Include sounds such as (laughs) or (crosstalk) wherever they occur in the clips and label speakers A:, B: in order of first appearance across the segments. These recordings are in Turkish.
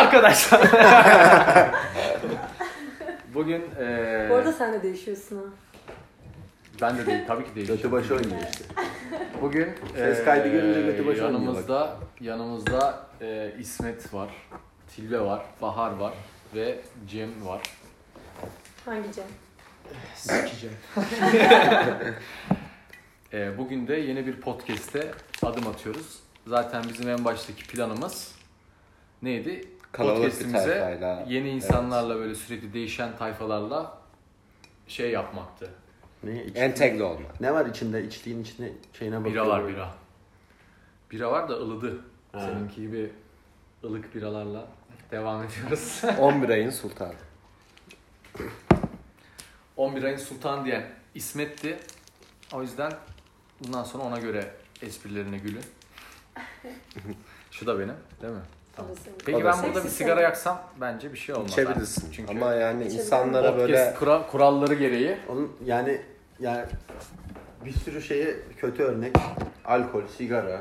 A: Arkadaşlar. (laughs) Bugün eee
B: Bu arada sen de değişiyorsun ha.
A: ben de değil tabii ki değil.
C: Götü başı oynuyor işte.
A: Bugün
C: Ses
A: eee,
C: kaydı görünce götü başı oynuyor
A: yanımızda yanımızda eee, İsmet var, Tilbe var, Bahar var ve Cem var.
B: Hangi Cem?
A: Eee, Ee, bugün de yeni bir podcast'e adım atıyoruz. Zaten bizim en baştaki planımız neydi?
C: Kalabalık bir
A: Podcast'imize
C: tayfayla,
A: yeni
C: evet.
A: insanlarla böyle sürekli değişen tayfalarla şey yapmaktı.
D: Ne, iç-
C: Entegre olma.
D: ne var içinde? İçtiğin içine şeyine bakıyorum.
A: Bira var bira. Bira var da ılıdı. Seninki gibi ılık biralarla devam ediyoruz. (laughs)
C: 11 ayın sultanı.
A: 11 ayın sultan diyen İsmet'ti. O yüzden bundan sonra ona göre esprilerine gülün. Şu da benim değil mi? Tamam.
B: Burası.
A: Peki
C: O da
A: ben
C: senin.
A: burada bir
B: Seksi
A: sigara
B: sen.
A: yaksam bence bir şey olmaz.
C: İçebilirsin.
A: Çünkü
C: Ama yani
B: İçebilirim.
C: insanlara
A: podcast
C: böyle
A: kura- kuralları gereği
D: Oğlum yani yani bir sürü şeye kötü örnek. Alkol, sigara.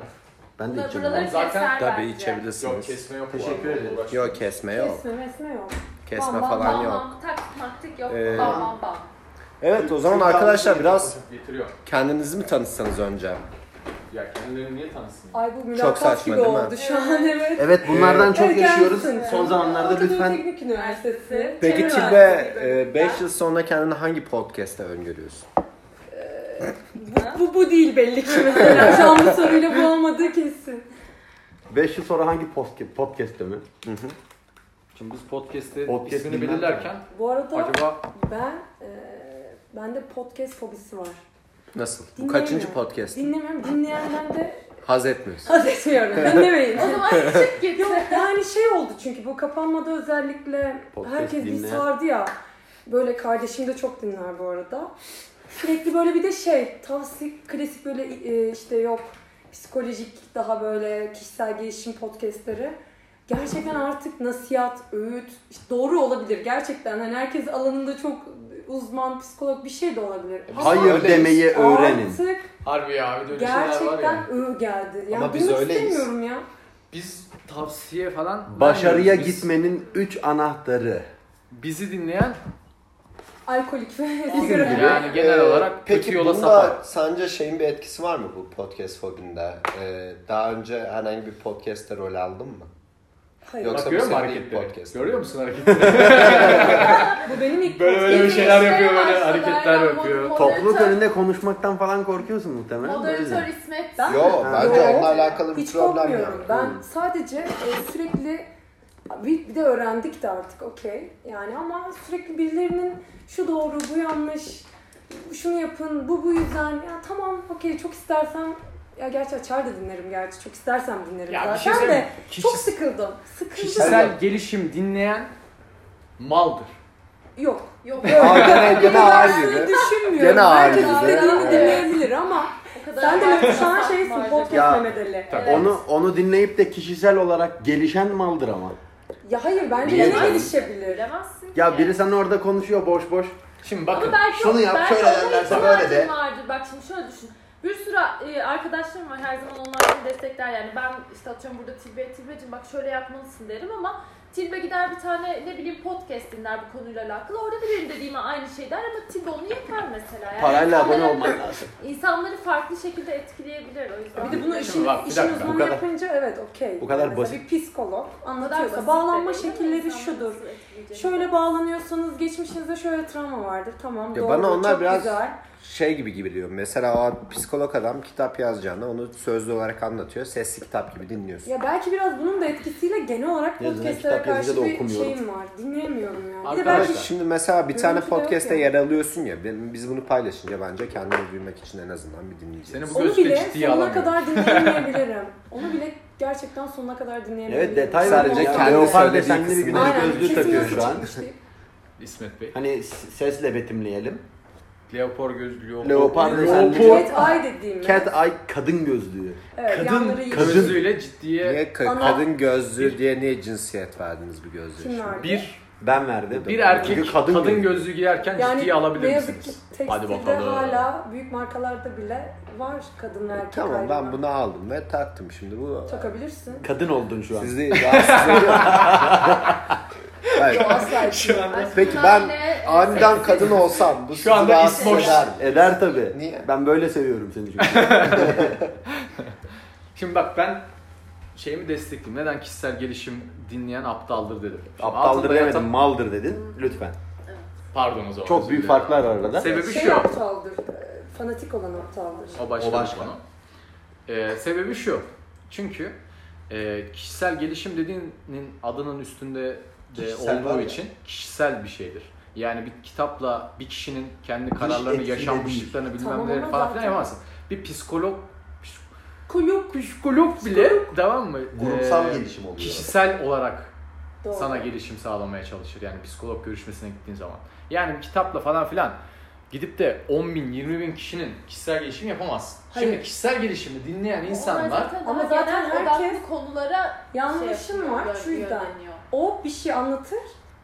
D: Ben de
E: Burada-
D: içeceğim.
E: Buraları
D: lan.
A: Zaten-
E: keser
C: tabii
E: bence.
A: yok
C: içebilirsiniz.
A: kesme yok.
D: Teşekkür ederim.
C: Yok kesme yok.
B: Kesme mesme yok.
C: Kesme
E: Bam, bam,
C: falan
E: bam,
C: yok.
E: bam. Tak taktik yok.
C: Ee,
E: bam bam bam.
C: Evet o zaman
A: şey
C: arkadaşlar biraz
A: Getiriyor.
C: kendinizi mi tanıtsanız önce?
A: Ya kendilerini niye tanısın?
B: Ay bu mülakat
C: Çok saçma
B: gibi
C: değil mi?
B: oldu şu an evet.
D: Evet bunlardan çok
B: Ergensin
D: yaşıyoruz.
B: yani.
D: Son zamanlarda
B: Anadolu
D: lütfen
B: Teknik Üniversitesi.
C: Peki
E: Çevir
C: Tilbe 5 yıl sonra kendini hangi podcast'te öngörüyorsun?
B: Bu, bu, bu değil belli ki mesela. Canlı soruyla bu olmadığı kesin.
D: 5 yıl sonra hangi podcast, podcast'te mi?
A: Şimdi biz podcast'te
D: Podcast
A: ismini
D: bilmem.
A: belirlerken
B: Bu arada
A: acaba
B: ben e, bende podcast fobisi var.
C: Nasıl? Bu
B: Dinleyemiyorum.
C: kaçıncı podcast?
B: Dinlemiyorum. Dinleyenden de
C: Haz
B: (laughs)
C: etmiyorsun.
B: haz etmiyorum. Dinlemeyin.
D: (laughs)
E: O zaman çık git.
B: Yok yani şey oldu çünkü bu kapanmada özellikle
D: Podcast
B: herkes bir
D: dinle.
B: sardı ya. Böyle kardeşim de çok dinler bu arada. Sürekli böyle bir de şey tavsiye klasik böyle e, işte yok psikolojik daha böyle kişisel gelişim podcastleri. Gerçekten artık nasihat, öğüt işte doğru olabilir gerçekten. Hani herkes alanında çok uzman, psikolog bir şey de olabilir.
A: biz
B: Ama
D: Hayır
A: Öyleyiz.
D: demeyi öğrenin.
B: Artık
A: harbi ya abi de öyle şeyler var ya.
B: gerçekten öğü geldi. Ya
C: Ama
B: Ama biz
C: biz öyleyiz.
B: istemiyorum ya.
A: Biz tavsiye falan
D: Başarıya
A: vermiyoruz. Biz-
D: gitmenin 3 anahtarı.
A: Bizi dinleyen
B: Alkolik ve
D: Bizim
B: sigara.
D: gibi.
A: yani genel
C: Ee,
A: olarak
C: peki
A: kötü yola
C: bunda
A: sapar.
C: sence şeyin bir etkisi var mı bu podcast fobinde? Ee, daha önce herhangi bir podcast'te rol aldın mı?
B: Hayır.
C: Yoksa
A: Bakıyor
C: bu
A: mu
C: senin
A: hareketleri?
C: ilk podcast.
A: Görüyor musun hareketleri?
B: (laughs) Bu benim ilk
A: Böyle böyle bir şeyler yapıyor böyle hareketler yapıyor.
D: Topluluk önünde konuşmaktan falan korkuyorsun muhtemelen.
E: Moderatör
D: Böyle.
E: İsmet.
B: Ben-
C: Yo
D: Ha.
C: bence
B: Yo.
C: onunla alakalı bir
B: hiç
C: problem
B: korkmuyorum.
C: yok.
B: Ben sadece e, sürekli bir, bir de öğrendik de artık okey. Yani ama sürekli birilerinin şu doğru, bu yanlış, şunu yapın, bu bu yüzden. Ya tamam okey çok istersen ya gerçi açar da dinlerim gerçi. Çok istersen dinlerim
A: Ya bir şey
B: zaten
A: söyleyeyim
B: de
A: mi? Kişis-
B: çok sıkıldım. Sıkıldım.
A: Kişisel gelişim dinleyen maldır.
B: Yok.
E: Yok
C: Aa, gene, gene ağır
B: Ben
C: gibi.
B: şunu düşünmüyorum.
C: Gene ağır
B: Herkes
C: gibi.
B: istediğini
E: Evet.
B: dinleyebilir ama
E: o kadar.
B: sen de
E: abartma,
B: şu an
E: abartma
B: şeysin
E: acaba.
B: podcast
D: Ya.
B: Mehmet'li.
A: Tabii.
D: Onu onu dinleyip de kişisel olarak gelişen maldır ama.
B: Ya hayır bence
D: Niye
B: yine
D: canım?
B: gelişebilir.
E: Bilemezsin ki.
D: Ya biri sana orada konuşuyor boş boş.
A: Şimdi
E: Ama
A: bakın
E: belki
C: şunu yap,
E: belki
C: şöyle
E: onun
C: derlerse
E: ihtiyacın
C: böyle de.
E: Vardır. Bak şimdi şöyle düşün. Bir sürü e, arkadaşlarım var her zaman onlar beni destekler yani ben işte atıyorum burada Tilbe, Tilbe'cim bak şöyle yapmalısın derim ama Tilbe gider bir tane ne bileyim podcast dinler bu konuyla alakalı orada da benim dediğime aynı şey der ama Tilbe onu yeter mesela yani.
D: Parayla abone
E: İnsanları-
D: olman lazım.
E: İnsanları farklı şekilde etkileyebilir o yüzden.
B: Bir de bunu
A: Şimdi
B: işin,
A: bak, bir
B: işin
A: dakika, bu
B: uzmanı
D: kadar-
B: yapınca evet okey.
D: bu kadar
B: Mesela
D: basit.
B: Bir psikolog
E: Bu kadar basit
B: anlatıyorsa bağlanma
E: değil mi?
B: şekilleri
E: İnsanları
B: şudur.
E: nasıl etkileyeceğini.
B: Şöyle bağlanıyorsanız geçmişinizde şöyle travma vardır. Tamam
C: Ya
B: doğru
C: bana onlar
B: çok
C: biraz-
B: güzel.
C: şey gibi gibi diyor. Mesela o psikolog adam kitap yazacağını onu sözlü olarak anlatıyor. Sesli kitap gibi dinliyorsun.
B: Ya belki biraz bunun da etkisiyle genel olarak
D: Yazına,
B: podcastlere
D: kitap
B: karşı
D: yazınca da
B: bir
D: okumuyorum.
B: şeyim var. Dinleyemiyorum yani. Bir de
C: Ama
B: belki
A: Arkadaşlar,
C: şimdi mesela bir tane
B: Görüntü de yok
C: podcast'te
B: ya.
C: yer alıyorsun ya. ben- Biz bunu paylaşınca bence kendini duymak için en azından bir dinleyeceğiz.
A: Seni bu
B: onu
A: gözle
B: bile
A: ciddiye
B: sonuna
A: alamıyorum.
B: kadar dinleyemeyebilirim. onu bile gerçekten sonuna kadar dinleyemeyebilirim.
D: Evet detay var.
C: Sadece
D: Sadece
C: kendi
D: Leopar
C: söylediği
D: desenli bir
C: kısmı.
D: güneş
B: Aynen,
D: gözlüğü
B: kesin
D: takıyor
B: yazı
D: şu an.
B: çıkmış değil.
A: İsmet Bey.
D: Hani s- sesle betimleyelim.
A: Leopar gözlü leopar.
D: Leopar desenli
A: Leopar
B: Cat eye dediğim.
D: Cat Eye kadın gözlüğü.
B: Evet, yanları
A: kadın
B: yeşil.
A: gözlüğüyle ciddiye
C: Niye ka-
B: Ama-
C: kadın gözlüğü diye niye cinsiyet verdiniz bu gözlüğe?
B: Kim
C: şimdi?
B: verdi?
A: bir
D: Ben verdim.
A: Bir erkek
D: Çünkü
A: kadın,
D: gözü.
A: gözlü giyerken
B: Yani
A: ciddiye alabilir
B: ne yazık ki
A: misiniz? Hadi
B: tekstilde
A: bakalım. (laughs)
B: hala büyük markalarda bile var kadın ve erkek
C: Tamam ben
B: ayrımı.
C: bunu aldım ve taktım şimdi bu.
B: Takabilirsin.
D: Kadın oldun şu an.
C: Sizi
B: (laughs)
C: rahatsız ediyor. Hayır.
B: Yok asla
A: Şu
B: etmiyorum.
A: anda-
C: Peki ben aniden kadın olsam bu sizi
A: anda
C: rahatsız
A: ismoş.
C: eder mi?
D: Eder tabi.
C: Niye?
D: Ben böyle seviyorum
A: (laughs)
D: seni çünkü.
A: Şimdi bak ben şeyimi destekleyeyim. Neden kişisel gelişim dinleyen aptaldır dedim. Şimdi
D: Aptaldır
A: altında
D: demedim,
A: yatan-
D: maldır dedin. Lütfen.
A: Pardon o zaman.
D: Çok
A: özür
D: büyük
A: dilerim.
D: farklar var arada.
A: Sebebi
B: şey
A: şu.
B: aptaldır. e, Fanatik olan aptaldır.
A: O başka,
D: O başka.
A: bir konu. Ee, sebebi şu. Çünkü e, kişisel gelişim dediğinin adının üstünde de
D: Kişisel var
A: olduğu
D: ya.
A: için kişisel bir şeydir. Yani bir kitapla bir kişinin kendi
D: Dış
A: kararlarını,
D: etkiyle
A: yaşanmışlıklarını bilmem
B: Tamam,
A: neleri
B: ama
A: falan filan
B: zaten-
A: yapamazsın. Bir psikolog psikolog, psikolog bile tamam mı? Ee,
D: gelişim oluyor.
A: Kişisel olarak
B: Doğru.
A: sana gelişim sağlamaya çalışır. Yani psikolog görüşmesine gittiğin zaman. Yani bir kitapla falan filan gidip de 10 bin, 20 bin kişinin kişisel gelişimi yapamazsın. Şimdi
B: Hayır.
A: kişisel gelişimi dinleyen
E: Onlar
A: insanlar
E: zaten
B: Ama
E: ama
B: zaten
E: genel
B: herkes-
E: odaklı konulara
B: Yanlışım
E: şey
B: var
E: yapıyor,
B: şu yüzden.
E: yönleniyor.
B: O bir şey anlatır.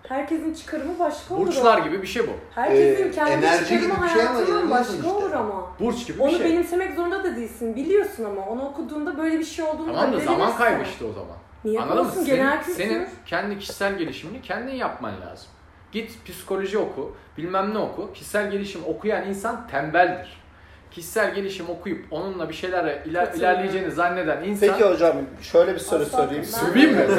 B: Herkesin çıkarımı başka olur.
A: burçlar gibi bir şey bu.
B: Herkesin
D: Ee,
B: kendi
D: enerji gibi
B: çıkarımı
D: bir şey ama
B: hayatının
D: inanıyorsun
B: başka
D: işte.
B: olur ama.
A: Burç gibi bir
B: Onu
A: şey.
B: benimsemek zorunda da değilsin. Biliyorsun ama onu okuduğunda böyle bir şey olduğunu
A: Tamam da
B: da
A: zaman
B: bilemezsin.
A: kaybı işte o zaman.
B: Niye
A: Anladın mı?
B: konuşsun?
A: Senin-
B: Genel kültür.
A: senin kendi kişisel gelişimini kendin yapman lazım. Git psikoloji oku, bilmem ne oku. Kişisel gelişim okuyan insan tembeldir. Kişisel gelişim okuyup onunla bir şeylere iler-
B: Katılıyorum.
A: ilerleyeceğini zanneden insan...
C: Peki hocam şöyle bir soru
B: Asla
C: sorayım.
B: ben-
A: Söveyim mi?
C: (laughs)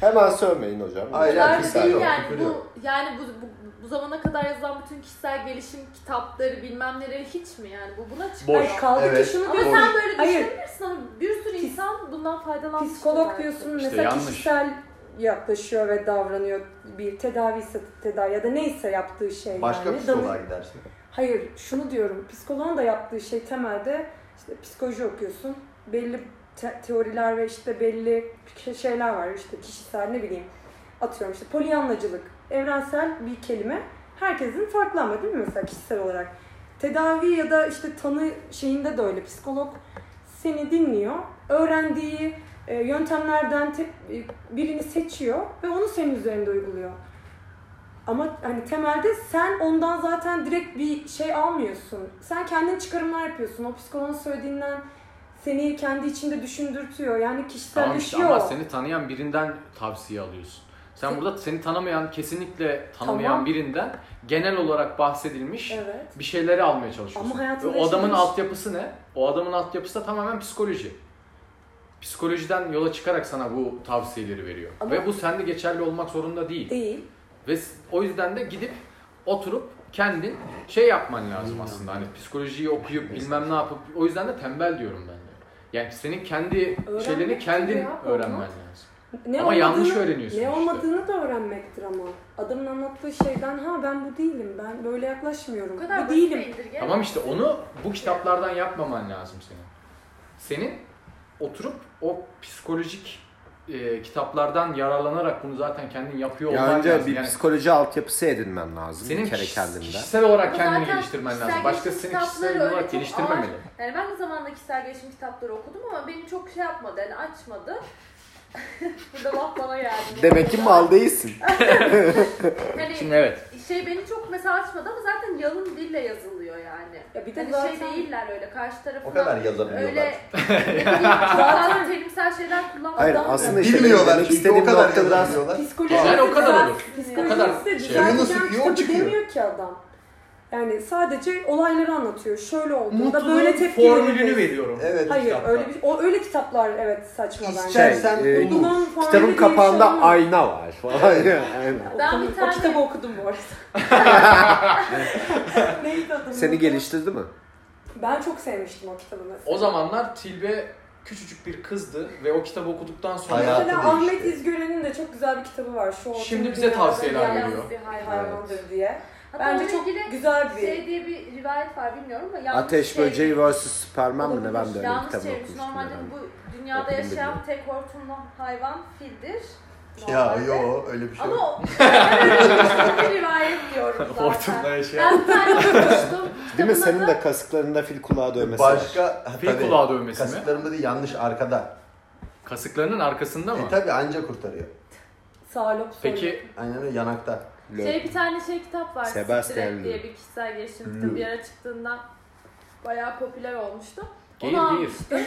C: Hemen sövmeyin hocam.
D: Hayır,
E: Bunlar
D: kişisel
E: değil
D: yok,
E: yani
D: küfür
E: bu
D: yok.
E: yani bu, bu bu zamana kadar yazılan bütün kişisel gelişim kitapları bilmem neleri hiç mi yani bu buna çıkıyor.
A: Boş.
B: Hayır, kaldı
D: Evet.
B: ki şunu
E: Ama
B: diyorsun.
E: sen böyle
B: Hayır.
E: düşünebilirsin ama bir sürü insan bundan faydalanmış.
B: Psikolog diyorsun
A: İşte
B: mesela
A: yanlış.
B: kişisel yaklaşıyor ve davranıyor bir tedavi ise tedavi ya da neyse yaptığı şey
D: Başka
B: yani.
D: psikoloğa
B: Danış-
D: gidersin.
B: Hayır şunu diyorum psikoloğun da yaptığı şey temelde işte psikoloji okuyorsun belli te- teoriler ve işte belli şey- şeyler var işte kişisel ne bileyim atıyorum işte polyanlacılık evrensel bir kelime herkesin farklı ama değil mi mesela kişisel olarak tedavi ya da işte tanı şeyinde de öyle psikolog seni dinliyor öğrendiği e, yöntemlerden te- e, birini seçiyor ve onu senin üzerinde uyguluyor. Ama hani temelde sen ondan zaten direkt bir şey almıyorsun. Sen kendin çıkarımlar yapıyorsun. O psikoloğun söylediğinden seni kendi içinde düşündürtüyor. Yani
A: Tamam işte
B: kişiselleşiyor.
A: ama seni tanıyan birinden tavsiye alıyorsun. Sen
B: Se-
A: burada seni tanımayan, kesinlikle tanımayan
B: Tamam.
A: birinden genel olarak bahsedilmiş
B: Evet.
A: bir şeyleri almaya çalışıyorsun.
B: Ama hayatında
A: Ve o adamın
B: yaşamış-
A: altyapısı ne? O adamın altyapısı da tamamen psikoloji. Psikolojiden yola çıkarak sana bu tavsiyeleri veriyor.
B: Ama-
A: Ve bu sende geçerli olmak zorunda değil.
B: Değil.
A: Ve s- o yüzden de gidip oturup kendin şey yapman lazım aslında. Hani psikolojiyi okuyup bilmem ne yapıp o yüzden de tembel diyorum ben de. Yani senin kendi
B: Öğrenmek
A: şeylerini kendin
B: ya, olmaz.
A: öğrenmen lazım.
B: Ne
A: Ama yanlış
B: olmadığını-
A: öğreniyorsun
B: Ne
A: işte.
B: olmadığını da öğrenmektir ama. Adamın anlattığı şeyden ha ben bu değilim. Ben böyle yaklaşmıyorum.
E: Bu kadar
B: bu
E: basit
B: değilim.
E: değilim. indirgen.
A: Tamam işte onu bu kitaplardan yapmaman lazım senin. Senin oturup o psikolojik e, kitaplardan yararlanarak bunu zaten kendin yapıyor
C: Ya
A: olman
C: önce
A: lazım.
C: bir
A: Yani
C: psikoloji altyapısı edinmen lazım
A: senin
C: bir kere
A: kişis-
C: kendinde.
A: kişisel olarak
E: Ama
A: kendini
E: zaten
A: geliştirmen
E: kişisel
A: lazım.
E: gelişim
A: Başkasını
E: kitapları
A: kişisel
E: öyle
A: olarak
E: çok
A: geliştirmemeli.
E: Yani ben de zamanında kişisel gelişim kitapları okudum ama beni çok şey yapmadı yani açmadı. (laughs) Burada laf bana geldi.
C: Demek ki mal değilsin.
E: Hani
A: Şimdi evet.
E: şey beni çok mesela açmadı ama zaten yalın dille yazılıyor yani.
B: Ya bir de
E: Hani
B: zaten-
E: şey değiller öyle karşı tarafına.
D: O kadar yazabiliyorlar.
E: Öyle (laughs) ne bileyim, çok daha terimsel şeyler kullanmadan.
C: Hayır
B: Adam-
C: aslında işte benim
D: Bilmiyorlar
C: Şey, demek
D: çünkü o
C: istediğim
D: kadar
C: noktada
D: yazabiliyorlar.
B: Psikoloji
A: Yani o kadar
B: zaten-
A: olur.
B: Psikolojisi
A: O kadar
B: de
A: şey.
B: düzelteceğim
D: Canını sıkıyor,
B: kitabı
D: çıkıyor.
B: demiyor ki adam. Yani sadece olayları anlatıyor. Şöyle olduğunda böyle
A: Mutluluğun
B: tepki
A: formülünü
B: verildi.
A: veriyorum.
D: Evet.
B: Hayır
D: kitapta.
B: öyle bir o öyle kitaplar evet saçma bence.
D: İster-
C: şey,
D: Sen
C: e,
D: olur.
B: Mutluluğun formülü diye
C: kitabın
B: bir şey
C: kapağında
B: olmaz.
C: ayna var (laughs) (laughs) falan. Aynen.
E: Ben
B: Okudum.
E: bir
B: O
E: tane-
B: kitabı okudum bu arada.
C: (laughs)
B: Neydi adı?
C: Seni geliştirdi mi?
B: Ben çok sevmiştim o kitabı mesela.
A: O zamanlar Tilbe küçücük bir kızdı ve o kitabı okuduktan sonra
D: Hayatı
B: Mesela
D: değişti.
B: Ahmet İzgören'in de çok güzel bir kitabı var. Şu ortamın
A: Şimdi bize
B: dünyada
E: şey
A: tavsiyeler
B: yalnız
A: veriyor.
B: Bir hay-
E: Evet.
B: hayvandır diye.
E: Hatta
B: Bence
E: onunla
B: çok
E: ilgili
B: güzel bir
E: Şey diye bir rivayet var bilmiyorum ama yanlış
C: Ateş
E: şey-
C: Böceği vs. Superman mı ne
B: Olabilir.
C: ben de öyle bir
E: Yanlış
C: kitabını
E: çevirmiş.
C: okumuştum.
E: Normalde
C: herhalde.
E: bu dünyada
C: Okudum
E: yaşayan
C: bilmiyorum.
E: tek hortumlu hayvan fildir.
D: Ya
E: Normalde.
D: yo öyle bir şey yok.
E: Ama o (laughs) ben öyle bir şey rivayet diyorum zaten.
A: hortumla
D: şey-
A: yaşayan.
E: Ben bir tane okumuştum.
C: Değil
E: Kitabın
C: mi? Senin
E: adı-
C: de kasıklarında fil kulağı dövmesi var.
D: Başka ha,
A: Fil
D: tabii.
A: kulağı dövmesi mi?
D: Kasıklarımda değil yanlış arkada.
A: Kasıklarının arkasında mı?
D: E tabi anca kurtarıyor.
B: Sağlop soruyor. (laughs)
A: Peki
D: Aynen öyle yanakta.
E: Şey bir tane şey kitap var.
C: Sebastian
E: Sebastian diye
C: Loeb.
E: bir kişisel gelişim
C: Loeb.
E: kitabı bir ara çıktığında bayağı popüler olmuştu.
A: geyir
E: Onu
A: geyir.
E: almıştım.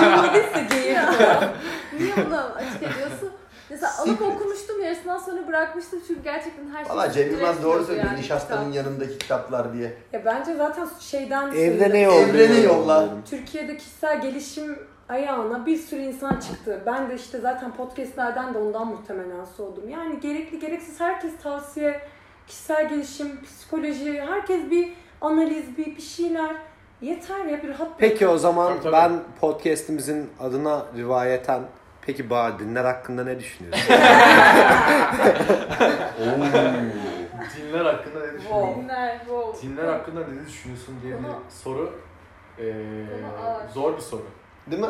B: Bilmediyse
E: (laughs)
B: geyik.
E: Niye bunu açık ediyorsun? Mesela alıp okumuştum yarısından sonra bırakmıştım çünkü gerçekten her şey...
D: Valla Cem Yılmaz doğru
E: direkt
D: söylüyor.
E: yani
D: Nişastanın
E: kitap.
D: yanındaki kitaplar diye.
B: Ya bence zaten şeyden...
C: Evde ne
B: yok?
C: yolluyor?
D: Evreni yolla.
B: Türkiye'de kişisel gelişim ayağına bir sürü insan çıktı. Ben de işte zaten podcastlerden de ondan muhtemelen soğudum. Yani gerekli gereksiz herkes tavsiye, kişisel gelişim, psikoloji, herkes bir analiz, bir, bir şeyler. Yeter ya bir rahat
C: Peki o zaman
A: Tabii, tabii.
C: ben podcast'imizin adına rivayeten Peki Bahar dinler hakkında ne düşünüyorsun?
A: Dinler hakkında ne
B: Wow.
E: Dinler, wow.
A: Dinler hakkında ne düşünüyorsun diye
E: Konu-
A: bir soru eee,
E: Konu ağır.
A: zor bir soru.
C: (laughs) Değil mi?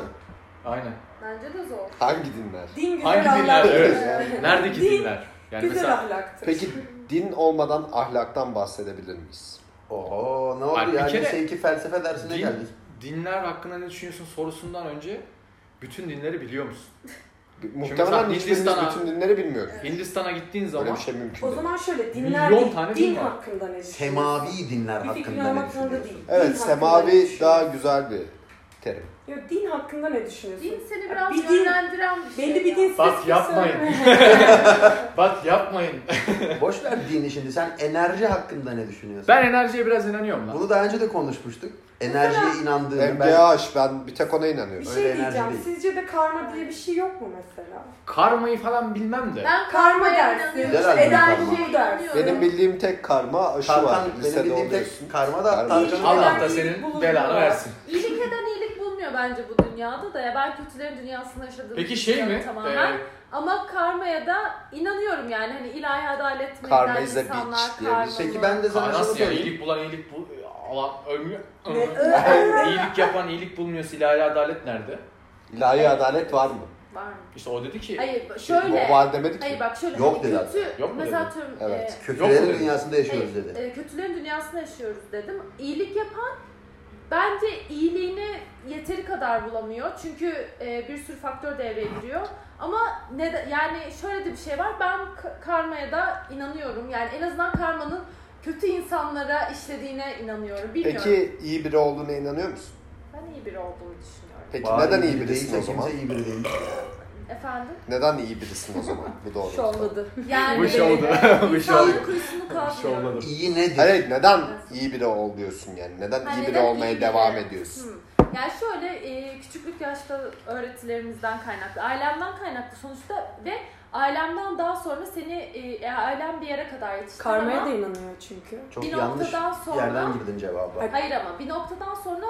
A: Aynen.
E: Bence de zor.
C: Hangi dinler?
B: Din güzel
A: Hangi dinler?
B: ahlak.
A: Evet. Neredeki
B: Din,
A: dinler? Yani
B: güzel
A: mesela
B: ahlaktır.
C: Peki din olmadan ahlaktan bahsedebilir miyiz?
D: Oho ne
A: Bak
D: oldu
A: bir
D: ya?
A: kere-
D: Lise 2 felsefe dersine
A: Din-
D: geldik.
A: dinler hakkında ne düşünüyorsun sorusundan önce bütün dinleri biliyor musun?
C: Muhtemelen
A: mesela
C: hiçbirimiz
A: Hindistan'a-
C: bütün dinleri bilmiyoruz.
A: Hindistan'a gittiğin
C: Öyle
A: zaman
C: bir şey
B: O
C: mümkün değil.
B: zaman şöyle dinler
A: Milyon
B: değil,
A: tane
B: din
A: din var.
B: hakkında ne düşünüyorsun?
D: Semavi dinler
B: Bir fikrin
D: hakkında ne
B: olmak zorunda değil.
D: düşünüyorsun?
B: Din
C: Evet
B: hakkında ne
C: semavi
E: şey
B: düşünüyorsun?
C: daha güzel bir terim.
B: Ya din hakkında ne düşünüyorsun?
E: Din seni biraz
B: Bir din-
E: yönlendiren bir şey.
B: Belli bir
E: ya.
B: din
A: Bak,
B: spesifik
A: yapmayın.
D: (laughs)
B: söyleme.
A: şey- bak yapmayın.
D: Boş ver dini şimdi. Sen enerji hakkında ne düşünüyorsun?
A: Ben enerjiye biraz inanıyorum lan.
D: Bunu daha önce de konuşmuştuk. Enerjiye inandığını ben...
C: MGH ben bir tek ona
B: Bir
C: inanıyorum.
B: şey
D: Öyle
B: diyeceğim.
D: enerji değil.
B: Sizce de karma diye bir şey yok mu mesela?
A: Karmayı falan bilmem de.
E: Ben
B: Karma
E: karmaya
B: dersi,
E: inanıyorum. şey
D: Güzel abi,
B: enerji
D: karma.
B: dersi.
C: Benim bildiğim tek karma aşı var.
D: Tarkan, benim
C: Lisede
D: bildiğim
C: oluyorsun.
D: tek karma da
C: Karma.
D: Tarkan'ın
A: Allah da
B: ben
A: senin
B: bulundum
A: belanı
B: ya.
A: versin.
E: İyilik eden iyilik bulmuyor bence bu dünyada da ya. Ben kötülerin dünyasında yaşadığını
A: Peki şey mi?
E: düşünüyorum Tamamen.
A: Eee,
E: Ama karmaya da inanıyorum yani. Hani ilahi adalet mi
C: Karma
E: eden
C: is a
E: insanlar
C: bitch diye
E: karmalı.
C: bir-
D: Peki ben de sana şunu
A: nasıl ya?
D: söyleyeyim.
A: İyilik bulan iyilik bul... Allah ölmüyor.
B: Ne?
A: Ee,
B: şey
A: iyilik yapan iyilik bulmuyorsa ilahi adalet nerede?
C: İlahi adalet var mı?
E: Var mı?
A: İşte o dedi ki
E: Hayır
C: O
E: şöyle.
C: var demedik
E: Hayır
C: ki.
E: bak şöyle.
D: Yok
E: hani
D: dedi
E: kötü,
A: Yok mu
E: mesela
A: dedi?
E: tüm
C: Evet.
E: e,
A: Yok mu
D: Kötülerin
A: dedi?
D: dünyasında yaşıyoruz
E: hayır,
D: dedi.
E: e, kötülerin dünyasında yaşıyoruz dedim. İyilik yapan bence iyiliğini yeteri kadar bulamıyor. Çünkü e, bir sürü faktör devreye giriyor. Ama ne de- yani şöyle de bir şey var. Ben k- karmaya da inanıyorum. Yani en azından karmanın kötü insanlara işlediğine inanıyorum. Bilmiyorum.
C: Peki iyi biri olduğuna inanıyor musun?
E: Ben iyi biri olduğumu düşünüyorum.
C: Peki
D: Bari
C: neden iyi
D: biri
C: birisin
D: değilse
C: o zaman?
D: Kimse iyi biri değil.
E: Efendim?
C: Neden iyi birisin o zaman? Bu
E: (laughs)
C: doğru.
B: Şolladı.
E: Yani
A: Bu şovdu. (laughs) Bu şovdu.
E: İnsanlık kuyusunu
A: şey
E: kazmıyor.
A: Şovladım.
D: İyi nedir?
C: Hayır neden iyi biri ol diyorsun yani? Neden
E: Ha,
C: iyi biri
E: neden
C: olmaya
E: iyi biri?
C: devam ediyorsun?
E: Hmm. Yani şöyle e, küçüklük yaşta öğretilerimizden kaynaklı, ailemden kaynaklı sonuçta ve ailemden daha sonra seni e, e, ailem bir yere kadar yetiştirdi
B: Karmaya
E: ama
B: da inanıyor çünkü.
D: Çok
E: bir
D: yanlış
E: noktadan sonra
D: yerden girdin cevaba.
B: Hayır.
E: hayır ama bir noktadan sonra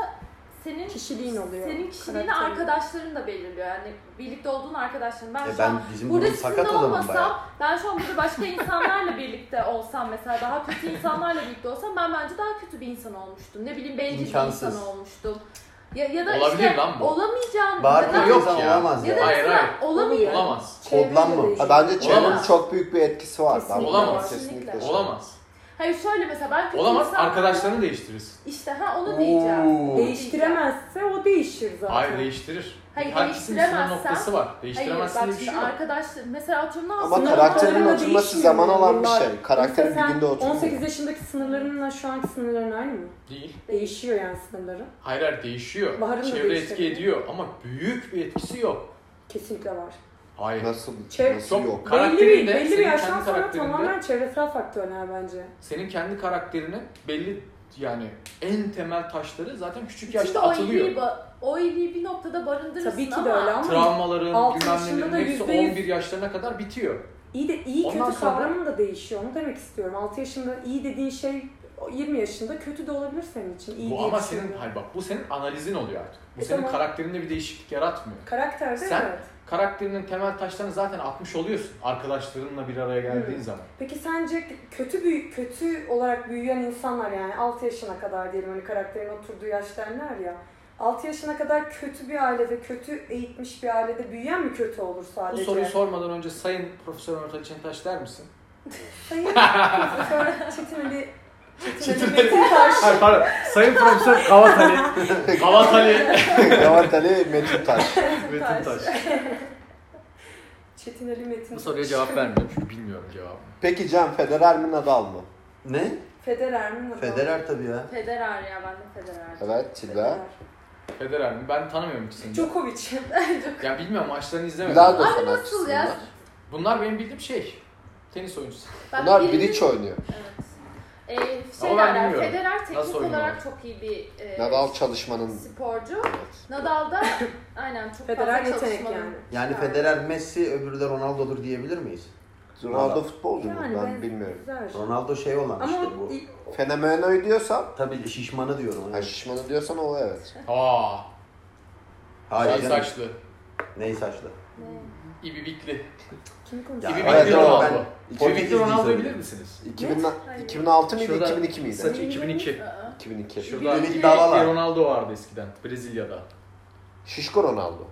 E: senin
B: Kişiliğin oluyor.
E: senin kişiliğini
B: karakterin.
E: arkadaşların da belirliyor. Yani birlikte olduğun arkadaşların. Ben
D: E
E: şu an
D: ben bizim
E: Burada
D: durum
E: sizinle
D: sakat o zaman bayağı.
E: olmasam, ben şu an burada başka insanlarla birlikte olsam mesela daha kötü insanlarla birlikte olsam ben bence daha kötü bir insan olmuştum. Ne bileyim bencil bir
D: İmkansız.
E: insan olmuştum. Ya, ya da
A: Olabilir
E: işte
A: lan bu.
E: olamayacağım
D: Bağır
E: ya da,
D: bir
A: Yok
D: insan
A: ya.
D: olamaz
E: ya
D: ya.
E: da
A: Hayır,
E: mesela
A: hayır.
E: olamayız.
A: Olamaz.
D: Kodlanma.
B: Çevre de
C: Ha, bence
A: Olamaz.
C: çevrenin çok büyük bir etkisi var. Ben
B: Kesinlikle.
A: Olamaz.
C: Kesinlikle.
E: Kesinlikle.
A: Olamaz.
E: Hayır şöyle mesela ben kötü
A: Olamaz.
E: insanlarla-
A: Arkadaşlarını değiştirirsin.
E: İşte ha onu diyeceğim.
D: Oo.
B: Değiştiremezse o değişir zaten.
A: Hayır değiştirir.
E: Hayır,
A: Herkesin bir sınır
E: değiştiremezsen-
A: noktası var.
E: Hayır bak
A: Değiştiremezsin diye
E: şimdi
A: bir şey yok.
E: arkadaşlar mesela atıyorum ne
C: Ama
E: yapsın?
C: karakterin
B: Sınırlarına
C: oturması
B: değişmiyor
C: zaman alan bir
B: bunlar.
C: şey. Karakterin
B: Mesela
C: bir
B: sen
C: günde oturmuyor.
B: 18 yaşındaki sınırlarınla şu anki sınırların aynı mı?
A: Değil.
B: Değişiyor yani sınırları.
A: Hayır hayır değişiyor.
B: Baharın da
A: Çevre
B: değişiyor.
A: etki ediyor ama büyük bir etkisi yok.
B: Kesinlikle var.
A: Hayır.
C: Nasıl,
B: Çev-
C: nasıl
A: Çok-
C: yok? (laughs)
B: Belli
A: Karakterinde,
B: bir, belli bir
A: senin
B: yaştan
A: kendi
B: sonra
A: karakterinde-
B: tamamen çevresel faktörler bence.
A: Senin kendi karakterini belli yani en temel taşları zaten küçük
E: İçinde
A: yaşta
E: o iyiliği,
A: atılıyor.
E: ba- o iyiliği bir noktada barındırırsın
B: Tabii ki
E: ama
B: de öyle ama
A: Travmaların,
B: Altı
A: bilmem
B: yaşında
A: nelerin
B: da
A: hepsi
B: yüzde yüz-
A: 11 yaşlarına kadar bitiyor.
B: İyi de iyi
A: Ondan
B: kötü
A: sonra-
B: kavramı da değişiyor. Onu demek istiyorum. 6 yaşında iyi dediğin şey 20 yaşında kötü de olabilir senin için. İyi
A: bu
B: diye
A: ama
B: düşünüyorum.
A: senin hayır bak bu senin analizin oluyor artık. Bu
B: E
A: senin
B: tamam.
A: karakterinde bir değişiklik yaratmıyor.
B: Karakterde
A: Sen-
B: evet.
A: Karakterinin temel taşlarını zaten atmış oluyorsun arkadaşlarınla bir araya geldiğin
B: Hı.
A: zaman.
B: Peki sence kötü büyü kötü olarak büyüyen insanlar yani 6 yaşına kadar diyelim hani karakterin oturduğu yaş derler ya. 6 yaşına kadar kötü bir ailede, kötü eğitmiş bir ailede büyüyen mi kötü olur
A: Bu
B: sadece?
A: soruyu sormadan önce Sayın Profesör Ömer Ali Çentaş der misin? (laughs)
B: Sayın Profesör Çetin Ali Çetin
A: Çetin
B: Ali Metin Taş.
A: Hayır pardon. Sayın Profesör Kavat
B: (laughs)
A: Ali. Kavat Ali.
C: Levent Ali Metin Taş.
A: Metin Taş.
B: Çetin Ali Metin.
A: Bu soruya cevap vermiyorum çünkü bilmiyorum cevabı.
D: Peki Can Federer mi Nadal mı? Ne?
B: Federer mi? Nadal mı?
D: Federer tabii ya.
E: Federer ya ben de Federer.
C: Evet Tilda.
A: Federer mi? Ben tanımıyorum ikisini. de.
B: Djokovic.
A: Ya bilmiyorum maçlarını izlemedim.
C: Bilardo
E: Abi
C: sanatçısı
E: nasıl ya?
C: bunlar.
A: Bunlar benim bildiğim şey. Tenis
D: (laughs)
A: oyuncusu.
E: Ben
C: Bunlar
E: birinin-
C: bridge oynuyor.
E: Evet. Ee, şey
A: Ama ben
E: derler,
A: bilmiyorum.
E: Federer teknik
A: Nasıl oynuyor?
E: olarak çok iyi bir e,
C: Nadal çalışmanın
E: sporcu.
D: (laughs)
E: Nadal da aynen çok
B: Federer
E: fazla
B: yetenek
E: çalışmalı.
B: yani.
D: Yani Federer Messi öbürü de Ronaldo'dur diyebilir miyiz?
C: Ronaldo futbolcu mu?
B: Yani
C: Ben bilmiyorum.
B: Güzel.
D: Ronaldo şey olan
B: Ama
D: işte bu.
B: i-
C: Fenomenoyu diyorsan,
D: Tabii şişmanı diyorum.
C: ha, şişmanı diyorsan o evet.
A: Aa,
D: Hayır.
A: şey
D: canım.
A: saçlı.
D: Ney saçlı?
E: Ne?
A: İbibikli.
B: kim
D: Ya,
B: konuşuyor?
A: İbibikli
D: evet, doğru,
A: Ronaldo.
D: ben
A: İbibikli
D: Portekizli'yi
A: Ronaldo'yu
D: söyledim.
A: bilir misiniz?
C: 2000,
E: Hayır.
C: 2006 mıydı?
A: Şurada
C: 2002 miydi?
A: Saçı 2002.
E: Aa.
C: 2002.
A: Şurada
D: İbibikli
A: İbibikli
D: Dalalar.
A: Ronaldo vardı eskiden Brezilya'da.
C: Şişko Ronaldo.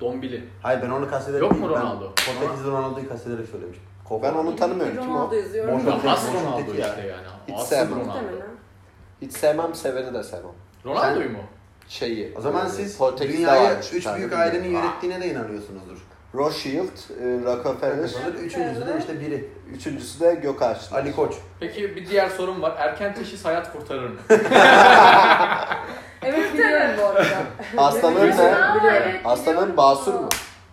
A: Dombili.
D: Hayır ben onu kastederek
A: Yok mu
D: değil, ben
A: Ronaldo?
D: Portekizli Ronaldo'yu kastederek söylemiştim. Koko.
C: Ben onu tanımıyorum. Kim o?
B: Ronaldo yazıyorum.
D: Boşver.
A: Ronaldo.
D: Boşver.
A: As Ronaldo
D: Boşver.
A: işte yani.
C: Hiç
A: As
C: sevmem.
A: Ronaldo.
B: Muhtemelen.
C: Hiç sevmem, seveni de sevmem.
A: Ronaldo'yu mu?
C: Şeyi.
D: O zaman
C: e,
D: siz
C: Portekiz'de
D: dünyayı
C: varmış bir
D: üç
C: tane,
D: büyük
C: bilmiyorum.
D: ailenin yönettiğine de inanıyorsunuzdur.
C: Rothschild, e, Rockefeller,
D: Hazır üçüncüsü de işte biri.
C: üçüncüsü de Gökaçlı.
D: Ali Koç.
A: Peki bir diğer sorum var. Erken teşhis hayat kurtarır
D: (laughs)
A: mı?
B: Evet biliyorum bu arada.
C: Aslanın
B: Biliyorum,
C: ne?
E: Aa,
B: biliyorum.
E: evet,
C: Aslanın
E: biliyorum.
C: basur mu?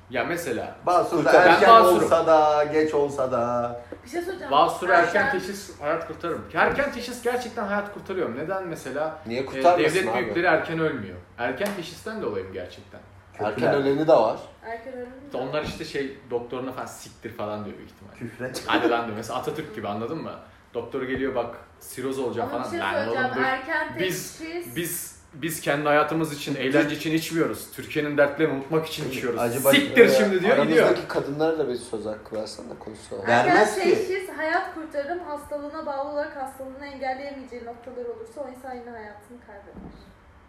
A: ya mesela
D: Basur da
A: Ben
D: erken
A: Basur'um.
D: olsa da, geç olsa da.
E: Bir şey söyleyeceğim.
A: Basur erken teşhis hayat kurtarır mı? Erken teşhis gerçekten hayat kurtarıyor. Neden mesela
C: Niye
A: e,
C: kurtarmasın
A: devlet
C: abi?
A: büyükleri erken ölmüyor? Erken teşhisten dolayı mı gerçekten?
C: Erken öleni de var.
E: Erken ölüm.
A: İşte onlar işte şey doktoruna falan siktir falan diyor büyük ihtimal.
D: Küfre.
A: Hadi lan diyor. Mesela Atatürk gibi anladın mı? Doktor geliyor bak siroz olacağım
E: Ama bir
A: falan.
E: şey
A: Lan oğlum
E: söyleyeceğim.
A: dur.
E: Erken
A: Biz-
E: teşhis.
A: Biz biz kendi hayatımız için, eğlence için içmiyoruz. Türkiye'nin dertlerini unutmak için içiyoruz.
D: Acaba-
A: Siktir
D: Ee,
A: şimdi diyor gidiyor.
C: e, Aramızdaki kadınlara da bir söz hakkı versen de konuşsana.
D: Ben- vermez
E: Erken
D: ki.
E: teşhis hayat kurtarım hastalığına bağlı olarak hastalığını engelleyemeyeceği noktalar olursa o insan yine hayatını kaybeder.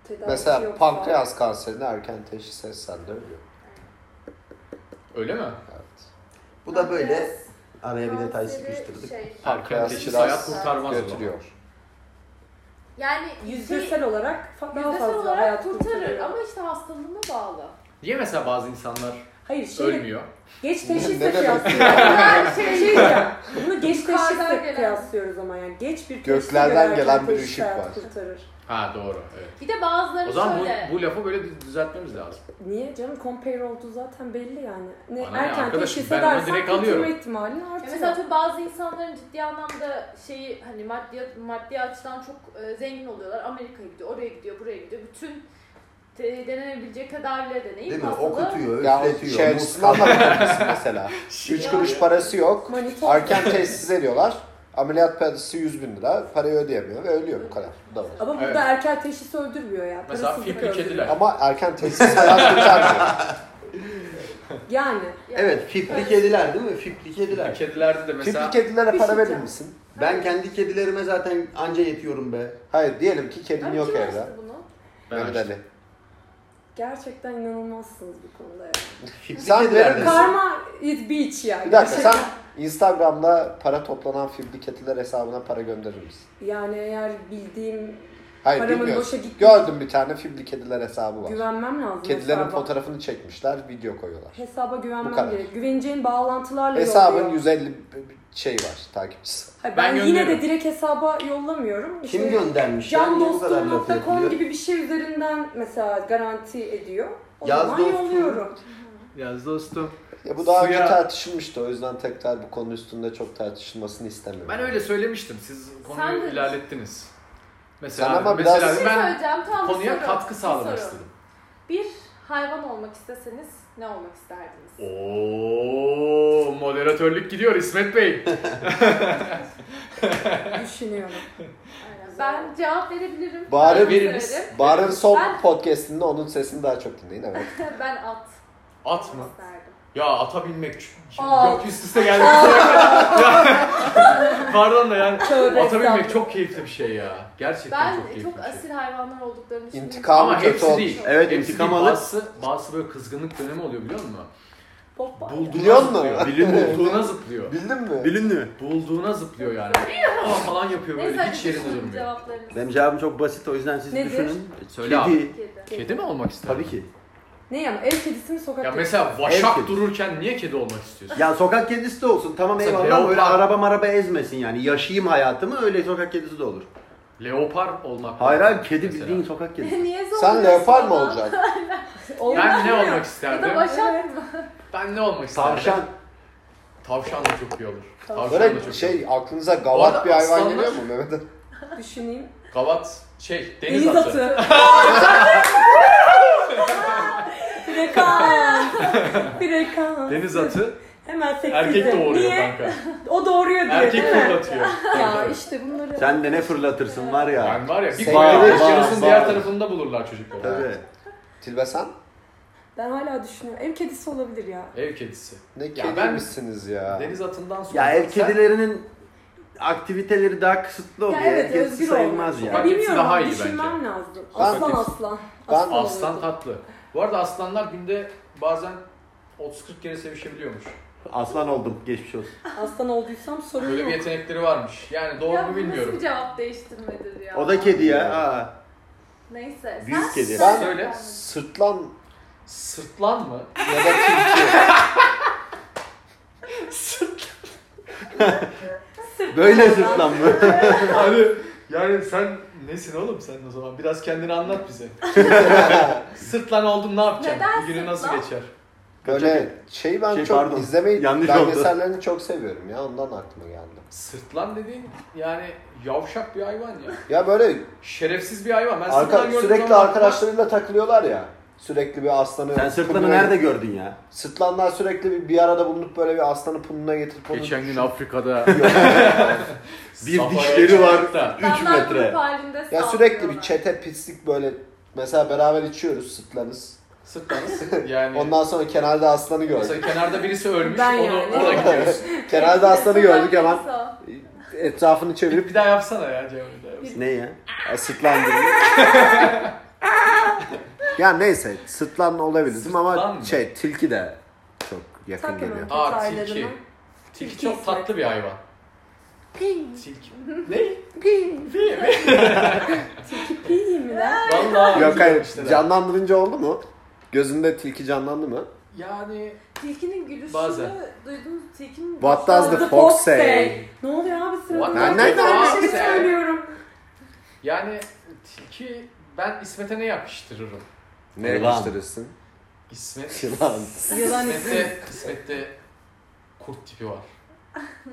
B: Tedavisi
C: Mesela
B: yoksa-
C: pankreas kanserini erken teşhis etsen de ölüyor.
A: Öyle mi?
C: Evet.
D: Bu da böyle
E: Herkes
D: araya bir detay
E: kanseri
D: sıkıştırdık.
E: şey-
A: Erken
C: Pankreas
A: teşhis
C: biraz
A: hayat kurtarmaz. o zaman.
C: Götürüyor.
E: Yani şey-
B: Yüzdesel olarak fa- daha
E: yüzdesel
B: fazla
E: olarak
B: hayat
E: kurtarır
B: kurtarıyor.
E: ama işte hastalığına bağlı.
A: Niye mesela bazı insanlar
B: Hayır şey
A: ölmüyor?
B: geç
C: Ne
B: teşhisle
C: demek?
B: kıyaslıyoruz. (laughs)
E: Her
B: şey
E: şey
B: diyeceğim. Bunu geç
E: Yukarıdan
B: teşhisle
E: gelen.
B: kıyaslıyoruz ama yani. Geç bir teşhisle
C: Göklerden
B: göre
C: gelen
B: erken
C: bir
B: teşhis
C: ışık
B: hayatı
C: var.
B: Kurtarır.
A: Ha doğru. Evet.
E: Bir de bazıları
A: O zaman
E: şöyle.
A: bu, bu lafı böyle düz- düzeltmemiz lazım.
B: Niye canım compare olduğu zaten belli yani. Ne
A: Bana ne
B: erken
A: arkadaşım,
B: teşhis
A: ben onu
B: edersen
A: direkt
B: kurtulma
A: alıyorum.
B: ihtimalin
E: Ya
B: artıyor.
E: e, mesela tabii bazı insanların ciddi anlamda şeyi hani maddi maddi açıdan çok e, zengin oluyorlar. Amerika'ya gidiyor, oraya gidiyor, buraya gidiyor. Bütün te- denenebilecek tedavileri deneyip
D: Değil mi?
E: hastalığı-
D: Okutuyor,
C: Ya o
D: üfletiyor.
C: şey
D: muz
C: açısından da bakabilirsin mesela. Üç
E: Yani-
C: kuruş parası yok.
B: Manitou.
C: Erken teşhis ediyorlar. Ameliyat parası 100 bin lira. Parayı ödeyemiyor ve ölüyor bu kadar. Bu da var.
B: Ama burada
A: Evet.
B: erken teşhis öldürmüyor ya.
A: Mesela
B: parasızlık
A: fipli
B: öldürüyor.
A: kediler.
C: Ama
D: (laughs)
C: erken teşhis hayat kurtarmıyor.
B: Yani.
E: Yani-
D: Evet, fipli kediler değil mi? Fipli
A: Fipli
D: kediler.
A: kedilerde de mesela
C: Tipli kedilere
B: Bir
C: para
B: şey
C: verir
B: canım.
C: misin?
D: Ben kendi kedilerime zaten anca yetiyorum be.
C: Hayır diyelim ki
E: Abi
C: kedin
E: kim
C: yok
E: açtı
C: evde.
E: bunu?
A: Ben
C: Mehmet Ali.
B: Gerçekten inanılmazsınız bu konuda yani.
D: Fipli
C: Sen
D: kediler
C: verir
D: de-
C: misin?
B: Karma is beach yani.
C: Bir dakika
B: Gerçekten.
C: sen Instagram'da para toplanan fibri kediler hesabına para gönderir misin?
B: Yani eğer bildiğim
C: Hayır
B: Paramın
C: bilmiyorum.
B: boşa gittiği-
C: Gördüm bir tane fibri kediler hesabı var.
B: güvenmem lazım
C: Kedilerin
B: hesaba.
C: fotoğrafını çekmişler, video koyuyorlar.
B: Hesaba
C: Bu
B: güvenmem
C: kadar.
B: gerek. Güveneceğin bağlantılarla
C: Hesabın
B: yolluyor.
C: 150 b- b- şey var takipçisi.
B: Hayır,
A: Ben
B: ben, yine de
A: gönderiyorum.
B: direkt hesaba yollamıyorum. İşte
D: Kim göndermiş? ya? Niye bu kadar laf
B: Candostum.com
D: yapılıyor?
B: gibi bir şey üzerinden mesela garanti ediyor. O
D: Yaz
B: zaman
D: dostum.
A: (laughs)
B: yolluyorum.
A: Yaz dostum.
C: Ya bu daha
A: Suya-
C: önce tartışılmıştı o yüzden tekrar bu konu üstünde çok tartışılmasını istemiyorum.
A: Ben öyle söylemiştim. Siz
E: Sen
A: konuyu
E: de-
A: ilerlettiniz. Mesela,
C: Sen ama
A: mesela
E: Bir
C: biraz-
E: şey
A: ben
E: söyleyeceğim. Tamam, bir
A: konuya
E: soru.
A: katkı
E: Bir şey
A: sağlamak
E: soru.
A: istedim.
E: Bir hayvan olmak isteseniz ne olmak isterdiniz?
A: Oo, moderatörlük gidiyor İsmet Bey.
B: Düşünüyorum.
E: Aynen. Ben cevap verebilirim.
C: Bari
E: Ben
A: verir
E: severim.
A: misin?
C: Barın son
E: Ben-
C: podcastinde onun sesini daha çok dinleyin evet.
E: ben at
A: At mı?
E: olmak isterdim.
A: Ya ata binmek. Şimdi
B: Aa.
A: Yok üst üste geldi. (laughs) Pardon da yani
B: Tövbe
A: ata binmek
B: estağfurullah.
A: çok keyifli bir şey ya. Gerçekten
E: Ben
A: çok
E: çok,
A: keyifli bir şey.
E: asil hayvanlar olduklarını düşünüyorum.
C: İntikam-
A: Ama
C: kötü
A: hepsi
C: olmuş.
A: değil.
D: Evet,
A: hepsi
D: intikam
A: değil.
D: alır.
A: Bazısı, bazısı böyle kızgınlık dönemi oluyor biliyor musun?
B: Popeye.
A: Bulduğuna
C: Biliyor musun?
A: zıplıyor. Bulduğuna zıplıyor.
C: (laughs) Bildin mi?
D: Bilinmiyor.
A: Bulduğuna zıplıyor yani. Aa falan yapıyor böyle
E: Neyse hadi
A: hiç yerinde
E: düşünün
A: durmuyor.
E: cevaplarınızı.
D: Benim cevabım çok basit o yüzden siz
B: Nedir?
D: düşünün.
A: Söyle abi.
D: Kedi.
E: Kedi.
A: Kedi mi olmak ister?
D: Tabii ki.
B: Ne yani ev kedisi mi sokak
A: Ya
B: kedisi?
A: mesela vaşak
D: Ev kedisi.
A: dururken niye kedi olmak istiyorsun?
D: Ya sokak kedisi de olsun tamam
A: Mesela
D: eyvallah ama öyle
A: leopar.
D: araba maraba ezmesin yani. Yaşayayım hayatımı öyle sokak kedisi de olur.
A: Leopar olmak.
D: Hayır hayır kedi
A: Mesela.
D: bildiğin
A: (laughs)
D: sokak kedisi.
E: (laughs) Niye zor?
C: Sen leopar mı olacaksın?
B: Olmaz
A: Ben ne
B: ya.
A: olmak
E: Ya da
A: isterdim?
E: başak mı?
A: Ben ne olmak isterdim?
D: Tavşan.
A: Tavşan da çok iyi olur. Tavşan da
C: Böyle
A: çok iyi
C: şey aklınıza
A: Bu arada
C: gavat bir hayvan
A: aslanlar-
C: geliyor mu Mehmet Ali?
B: Düşüneyim.
A: olur. Gavat şey deniz,
B: Deniz
A: atı.
B: atı.
A: (laughs) (laughs)
B: Frekan. Frekan.
A: Deniz
B: (laughs)
A: atı
B: Hemen sekiz.
A: erkek doğuruyor
B: Niye?
A: kanka.
B: O doğuruyor diye
A: Erkek
B: (laughs) değil mi?
A: fırlatıyor.
B: Ya işte bunları...
D: Sen de ne fırlatırsın var ya.
A: Yani var ya bir
C: Bayağı,
A: kuyruğu
C: bayağı,
A: ışığınızın diğer
C: bayağı.
A: tarafında bulurlar çocukları.
D: Tabii.
C: Tilbe sen?
B: Ben hala düşünüyorum. Ev kedisi olabilir ya.
A: Ev kedisi.
C: Ne
A: ben-
C: kedimizsiniz ya.
A: Deniz atından sonra
D: Ya ev
A: sen-
D: kedilerinin aktiviteleri daha kısıtlı oluyor.
B: Ya evet,
D: Ev kedisi
B: özgür
D: sayılmaz
A: olmak.
D: yani.
B: Ya
A: Sokak kedisi
B: bilmiyorum
A: daha
B: ama
A: iyi
B: düşünmem lazım.
C: Ben-
B: Aslan
A: Sokak-
B: aslan.
C: Ben-
A: Aslan
B: olurdu.
A: tatlı. Bu arada aslanlar günde bazen 30-40 kere sevişebiliyormuş.
D: Aslan oldum geçmiş olsun.
B: Aslan olduysam sorun
A: Böyle
B: yok.
A: bir yetenekleri varmış. Yani doğru
E: Ya
A: mu
E: bu nasıl
A: bilmiyorum.
E: bir cevap değiştirmedir ya.
D: O da kedi ya. Aa.
E: Neyse.
D: Büyük
E: sen-
D: kedi.
C: Ben-
A: Söyle.
C: Sırtlan
A: Sırtlan mı?
C: ya da tilki.
D: Böyle sırtlan mı?
A: Abi yani sen nesin oğlum sen o zaman? Biraz kendini anlat bize. sırtlan oldum ne yapacaksın?
E: Neden
A: Bir günü nasıl
E: sırtlan?
A: geçer?
C: Böyle şey ben
D: Şey,
C: çok
D: pardon.
C: izlemeyi
D: Yanlış oldu.
C: belgesellerini çok seviyorum ya ondan aklıma geldi.
A: Sırtlan dediğin yani yavşak bir hayvan ya.
C: Ya böyle
A: Şerefsiz bir hayvan. Ben
C: arka-
A: sırtlan gördüğüm
C: sürekli
A: zaman-
C: arkadaşlarıyla takılıyorlar ya. Sürekli bir aslanı...
D: Sen sırtlanı
C: pınlıyor.
D: nerede gördün ya?
C: Sırtlanlar sürekli bir, bir arada bulunup böyle bir aslanı pununa getirip onu...
A: Geçen gün Afrika'da
D: Bir
A: Safara'ya
D: dişleri var.
A: çıktık da.
D: 3
E: Adamlar
D: metre.
E: grup halinde (laughs)
C: Ya sürekli bir
E: saldırıyorlar.
C: çete pislik böyle mesela beraber içiyoruz sırtlanız.
A: Sırtlanız yani.
C: Ondan sonra kenarda aslanı gördük.
A: Mesela kenarda birisi ölmüş,
B: Ben
A: onu,
B: yani.
A: ona
C: (laughs)
A: gidiyorsun.
C: kenarda aslanı gördük hemen
E: Neyse o.
A: (laughs)
C: etrafını çevirip
A: Bir daha yapsana ya Cem. bir daha yapsana.
D: Ne ya?
C: sırtlandırdık. ya neyse sırtlan olabilirdim ama
A: Sırtlan mı?
C: şey tilki de çok yakın
B: Tak hemen
C: geliyor.
A: Aa,
B: detaylarını.
A: tilki. Tilki
B: Tilki
A: çok
B: ismi.
A: tatlı bir hayvan. Tilki. Ne? Değil mi?
B: Tilki pi mi lan?
A: Vallahi
C: Yok
A: işte
C: hayır
A: de.
C: canlandırınca oldu mu? Gözünde tilki canlandı mı?
A: Yani
E: Tilkinin gülüşünü
A: Bazen.
E: duydunuz. Tilkinin
C: What does the fox say?
B: Ne oluyor abi
A: What
B: sırada?
C: does
B: Ben
C: the
B: ne
A: fox
B: kadar bir şey
A: say?
B: söylüyorum.
A: yani tilki ben İsmet'e ne yakıştırırım?
C: Ne
D: Yılan.
C: yakıştırırsın?
A: İsmet,
C: (laughs) Yılan.
B: Yılan ismi.
A: İsmet'te, İsmet'te kurt tipi var.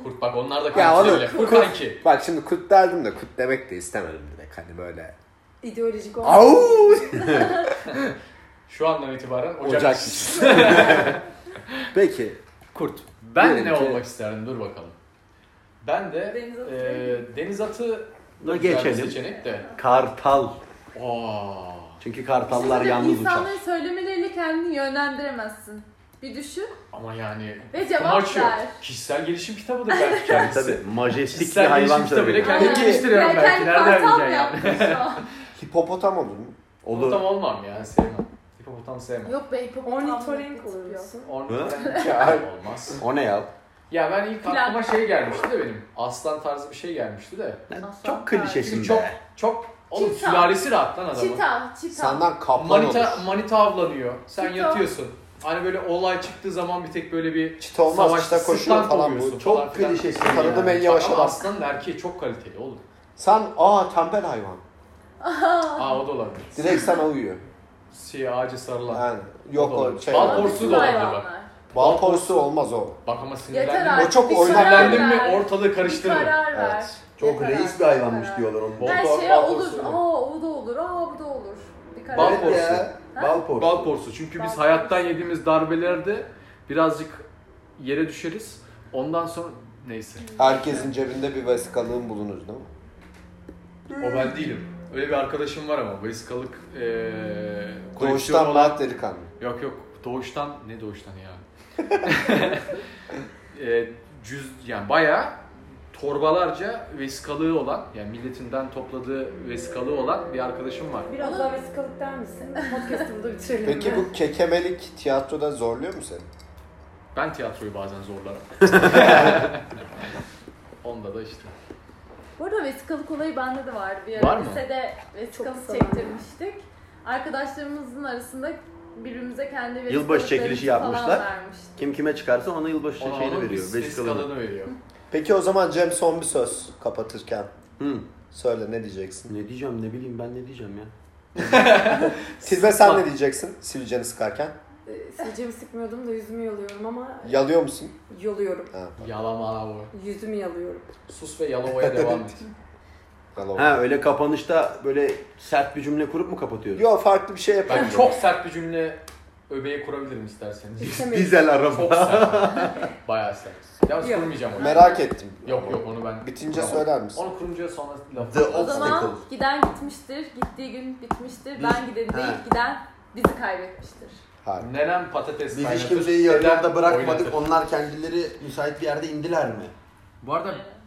A: Kurt bak onlar da
C: Ya
A: kanki
C: oğlum,
A: öyle. Kurt kanki.
C: Bak şimdi kut derdim de kut demek de istemedim direkt hani böyle.
B: İdeolojik olan.
C: Au!
A: Şu andan itibaren Ocak.
C: Ocak. Peki
A: Kurt. (laughs) Ben
C: Diyelim
A: ne
C: ki-
A: olmak isterdim? Dur bakalım. Ben de
E: Deniz atı.
A: eee, deniz atı güzel
D: Da
A: bir şey.
D: geçelim.
A: seçenek de.
D: Kartal.
A: Aa.
D: Çünkü kartallar yalnız uçar.
E: İnsanların söylemeleriyle kendini yönlendiremezsin. Bir düşün
A: Ama yani
E: ve cevap
A: amaç
E: ver.
A: Kişisel gelişim kitabı da
E: (laughs)
A: belki
D: Yani
A: kendisi.
D: tabii majestik bir
A: Kişisel
D: hayvan
A: gelişim kitabı bile
D: söyledi.
A: kendini
E: Aynen.
A: geliştiriyorum
E: Ya
A: belki.
E: kendi
A: Nereden
E: kartal mı
A: bileceksin yani?
E: yaptın şu
A: (laughs)
E: an?
C: hipopotam olur mu?
D: Olur.
A: Hipopotam olmam yani sevmem. Hipopotam sevmem.
E: Yok be hipopotam.
B: Ornitorenk
E: yok.
B: olur musun?
A: Ornitorenk
C: Ya.
A: olmaz.
D: O ne ya?
A: Ya ben ilk
E: Plan.
A: aklıma şey gelmişti de benim. Aslan tarzı bir şey gelmişti de.
D: Lan
E: Aslan
D: Çok
A: Çünkü
D: klişesin
A: çok
D: be.
A: çok oğlum
E: Çita.
A: sülalesi rahat lan adamın.
E: Çita, çita.
C: Senden kaplan
A: Manita,
C: olur.
A: manita avlanıyor. Sen
E: Çita.
A: yatıyorsun. Hani böyle olay çıktığı zaman bir tek böyle bir
C: Çit olmaz
A: savaş,
C: işte koşuyor
A: sırtlan
C: falan
A: kovuyorsun
C: bu.
A: falan
C: Çok
A: filan.
C: klişesin.
D: Yani.
C: Tanıdım en yavaş
A: Ama
C: adam.
A: aslanın erkeği çok kaliteli oğlum.
C: Sen aa tembel hayvan.
A: Aa o da olabilir.
C: Direkt sana uyuyor.
A: Siyah ağacı sarılan.
C: Yani yok o şey.
A: Bal
E: Bütün
A: porsu da olabilir bak.
E: hayvanlar.
C: Bal porsu olmaz o.
A: Bak ama
E: Yeter
A: sinirlendim.
E: artık.
C: çok
E: bir
C: oynar.
E: karar
A: Sinirlendim mi
E: ver.
A: ortalığı
E: Bir
A: karıştırırım.
E: karar ver.
C: Evet.
D: Çok
E: Yeter
D: reis
E: artık,
D: bir hayvanmış
E: karar.
D: diyorlar onun.
A: Bol
E: Her
A: bal-
E: şeye
A: bal
E: olur.
A: porsu.
E: Aa o da olur. Aa bu da olur. Bir karar
A: Bal
E: ver.
A: porsu.
D: Bal porsu.
A: Bal porsu. Çünkü
E: Bal
A: biz
E: porsu.
A: hayattan yediğimiz darbelerde birazcık yere düşeriz. Ondan sonra neyse.
C: Herkesin cebinde bir vesikalığın bulunur değil mi?
A: O ben değilim. Öyle bir arkadaşım var ama vesikalık eee koleksiyonu
C: Doğuştan
A: olan...
C: rahat delikanlı.
A: Yok yok. Doğuştan ne doğuştan ya. Eee, cüz yani bayağı torbalarca vesikalığı olan yani milletinden topladığı vesikalığı olan bir arkadaşım var.
B: Biraz daha vesikalık der misin? Podcast'ı burada bitirelim.
C: Peki
B: mi?
C: bu kekemelik tiyatroda zorluyor mu seni?
A: Ben tiyatroyu bazen
D: (laughs)
A: zorlarım. Onda da işte.
E: Bu arada vesikalık olayı bende de vardı. Bir
A: Var
E: ara
A: mı?
E: lisede vesikalık
B: Çok sorun.
E: çektirmiştik. Arkadaşlarımızın arasında birbirimize kendi vesikalarımızı
D: Yılbaşı çekilişi
E: falan
D: yapmışlar.
E: vermiştik.
D: Kim kime çıkarsa ona yılbaşı
A: Ona
D: Şey şeyini
A: onun
D: veriyor.
A: bir
D: Vesikalını.
A: vesikalını veriyor.
C: Peki o zaman Cem son bir söz kapatırken.
D: Hı.
C: Söyle ne diyeceksin?
D: Ne diyeceğim ne bileyim ben ne diyeceğim ya.
C: Silve sen ne diyeceksin sivilceni sıkarken?
B: Ee, Sileceğimi sıkmıyordum da yüzümü yalıyorum ama
C: Yalıyor musun?
B: yoluyorum.
C: Ha,
A: Yalama bu.
B: Yüzümü yalıyorum.
A: Sus ve
D: (laughs)
A: yalamaya devam et.
C: yalamıyor.
D: Ha öyle kapanışta böyle sert bir cümle kurup mu kapatıyoruz?
C: Yo farklı bir şey yapalım.
A: Ben çok sert bir cümle öbeğe kurabilirim isterseniz.
B: İstemiyorum.
D: Dizel
A: Çok
D: araba.
A: sert. Bayağı sert. Ya
B: Yok.
A: kurmayacağım onu.
C: Merak ettim.
A: Yok yok onu ben.
C: Bitince
A: Tamam.
C: söyler misin?
A: Onu kurunca sonra laf.
D: The
E: O zaman
D: obstacle.
E: giden gitmiştir, gittiği gün bitmiştir. Ben gideni değil,
D: He.
E: giden bizi kaybetmiştir.
C: Harika.
A: Nenem patates
D: Biz
A: kaynatır.
D: hiç kimseyi yarıda
A: dedem
D: bırakmadık.
A: oynatır.
D: Onlar kendileri müsait bir yerde indiler mi?
A: Bu arada
E: Evet.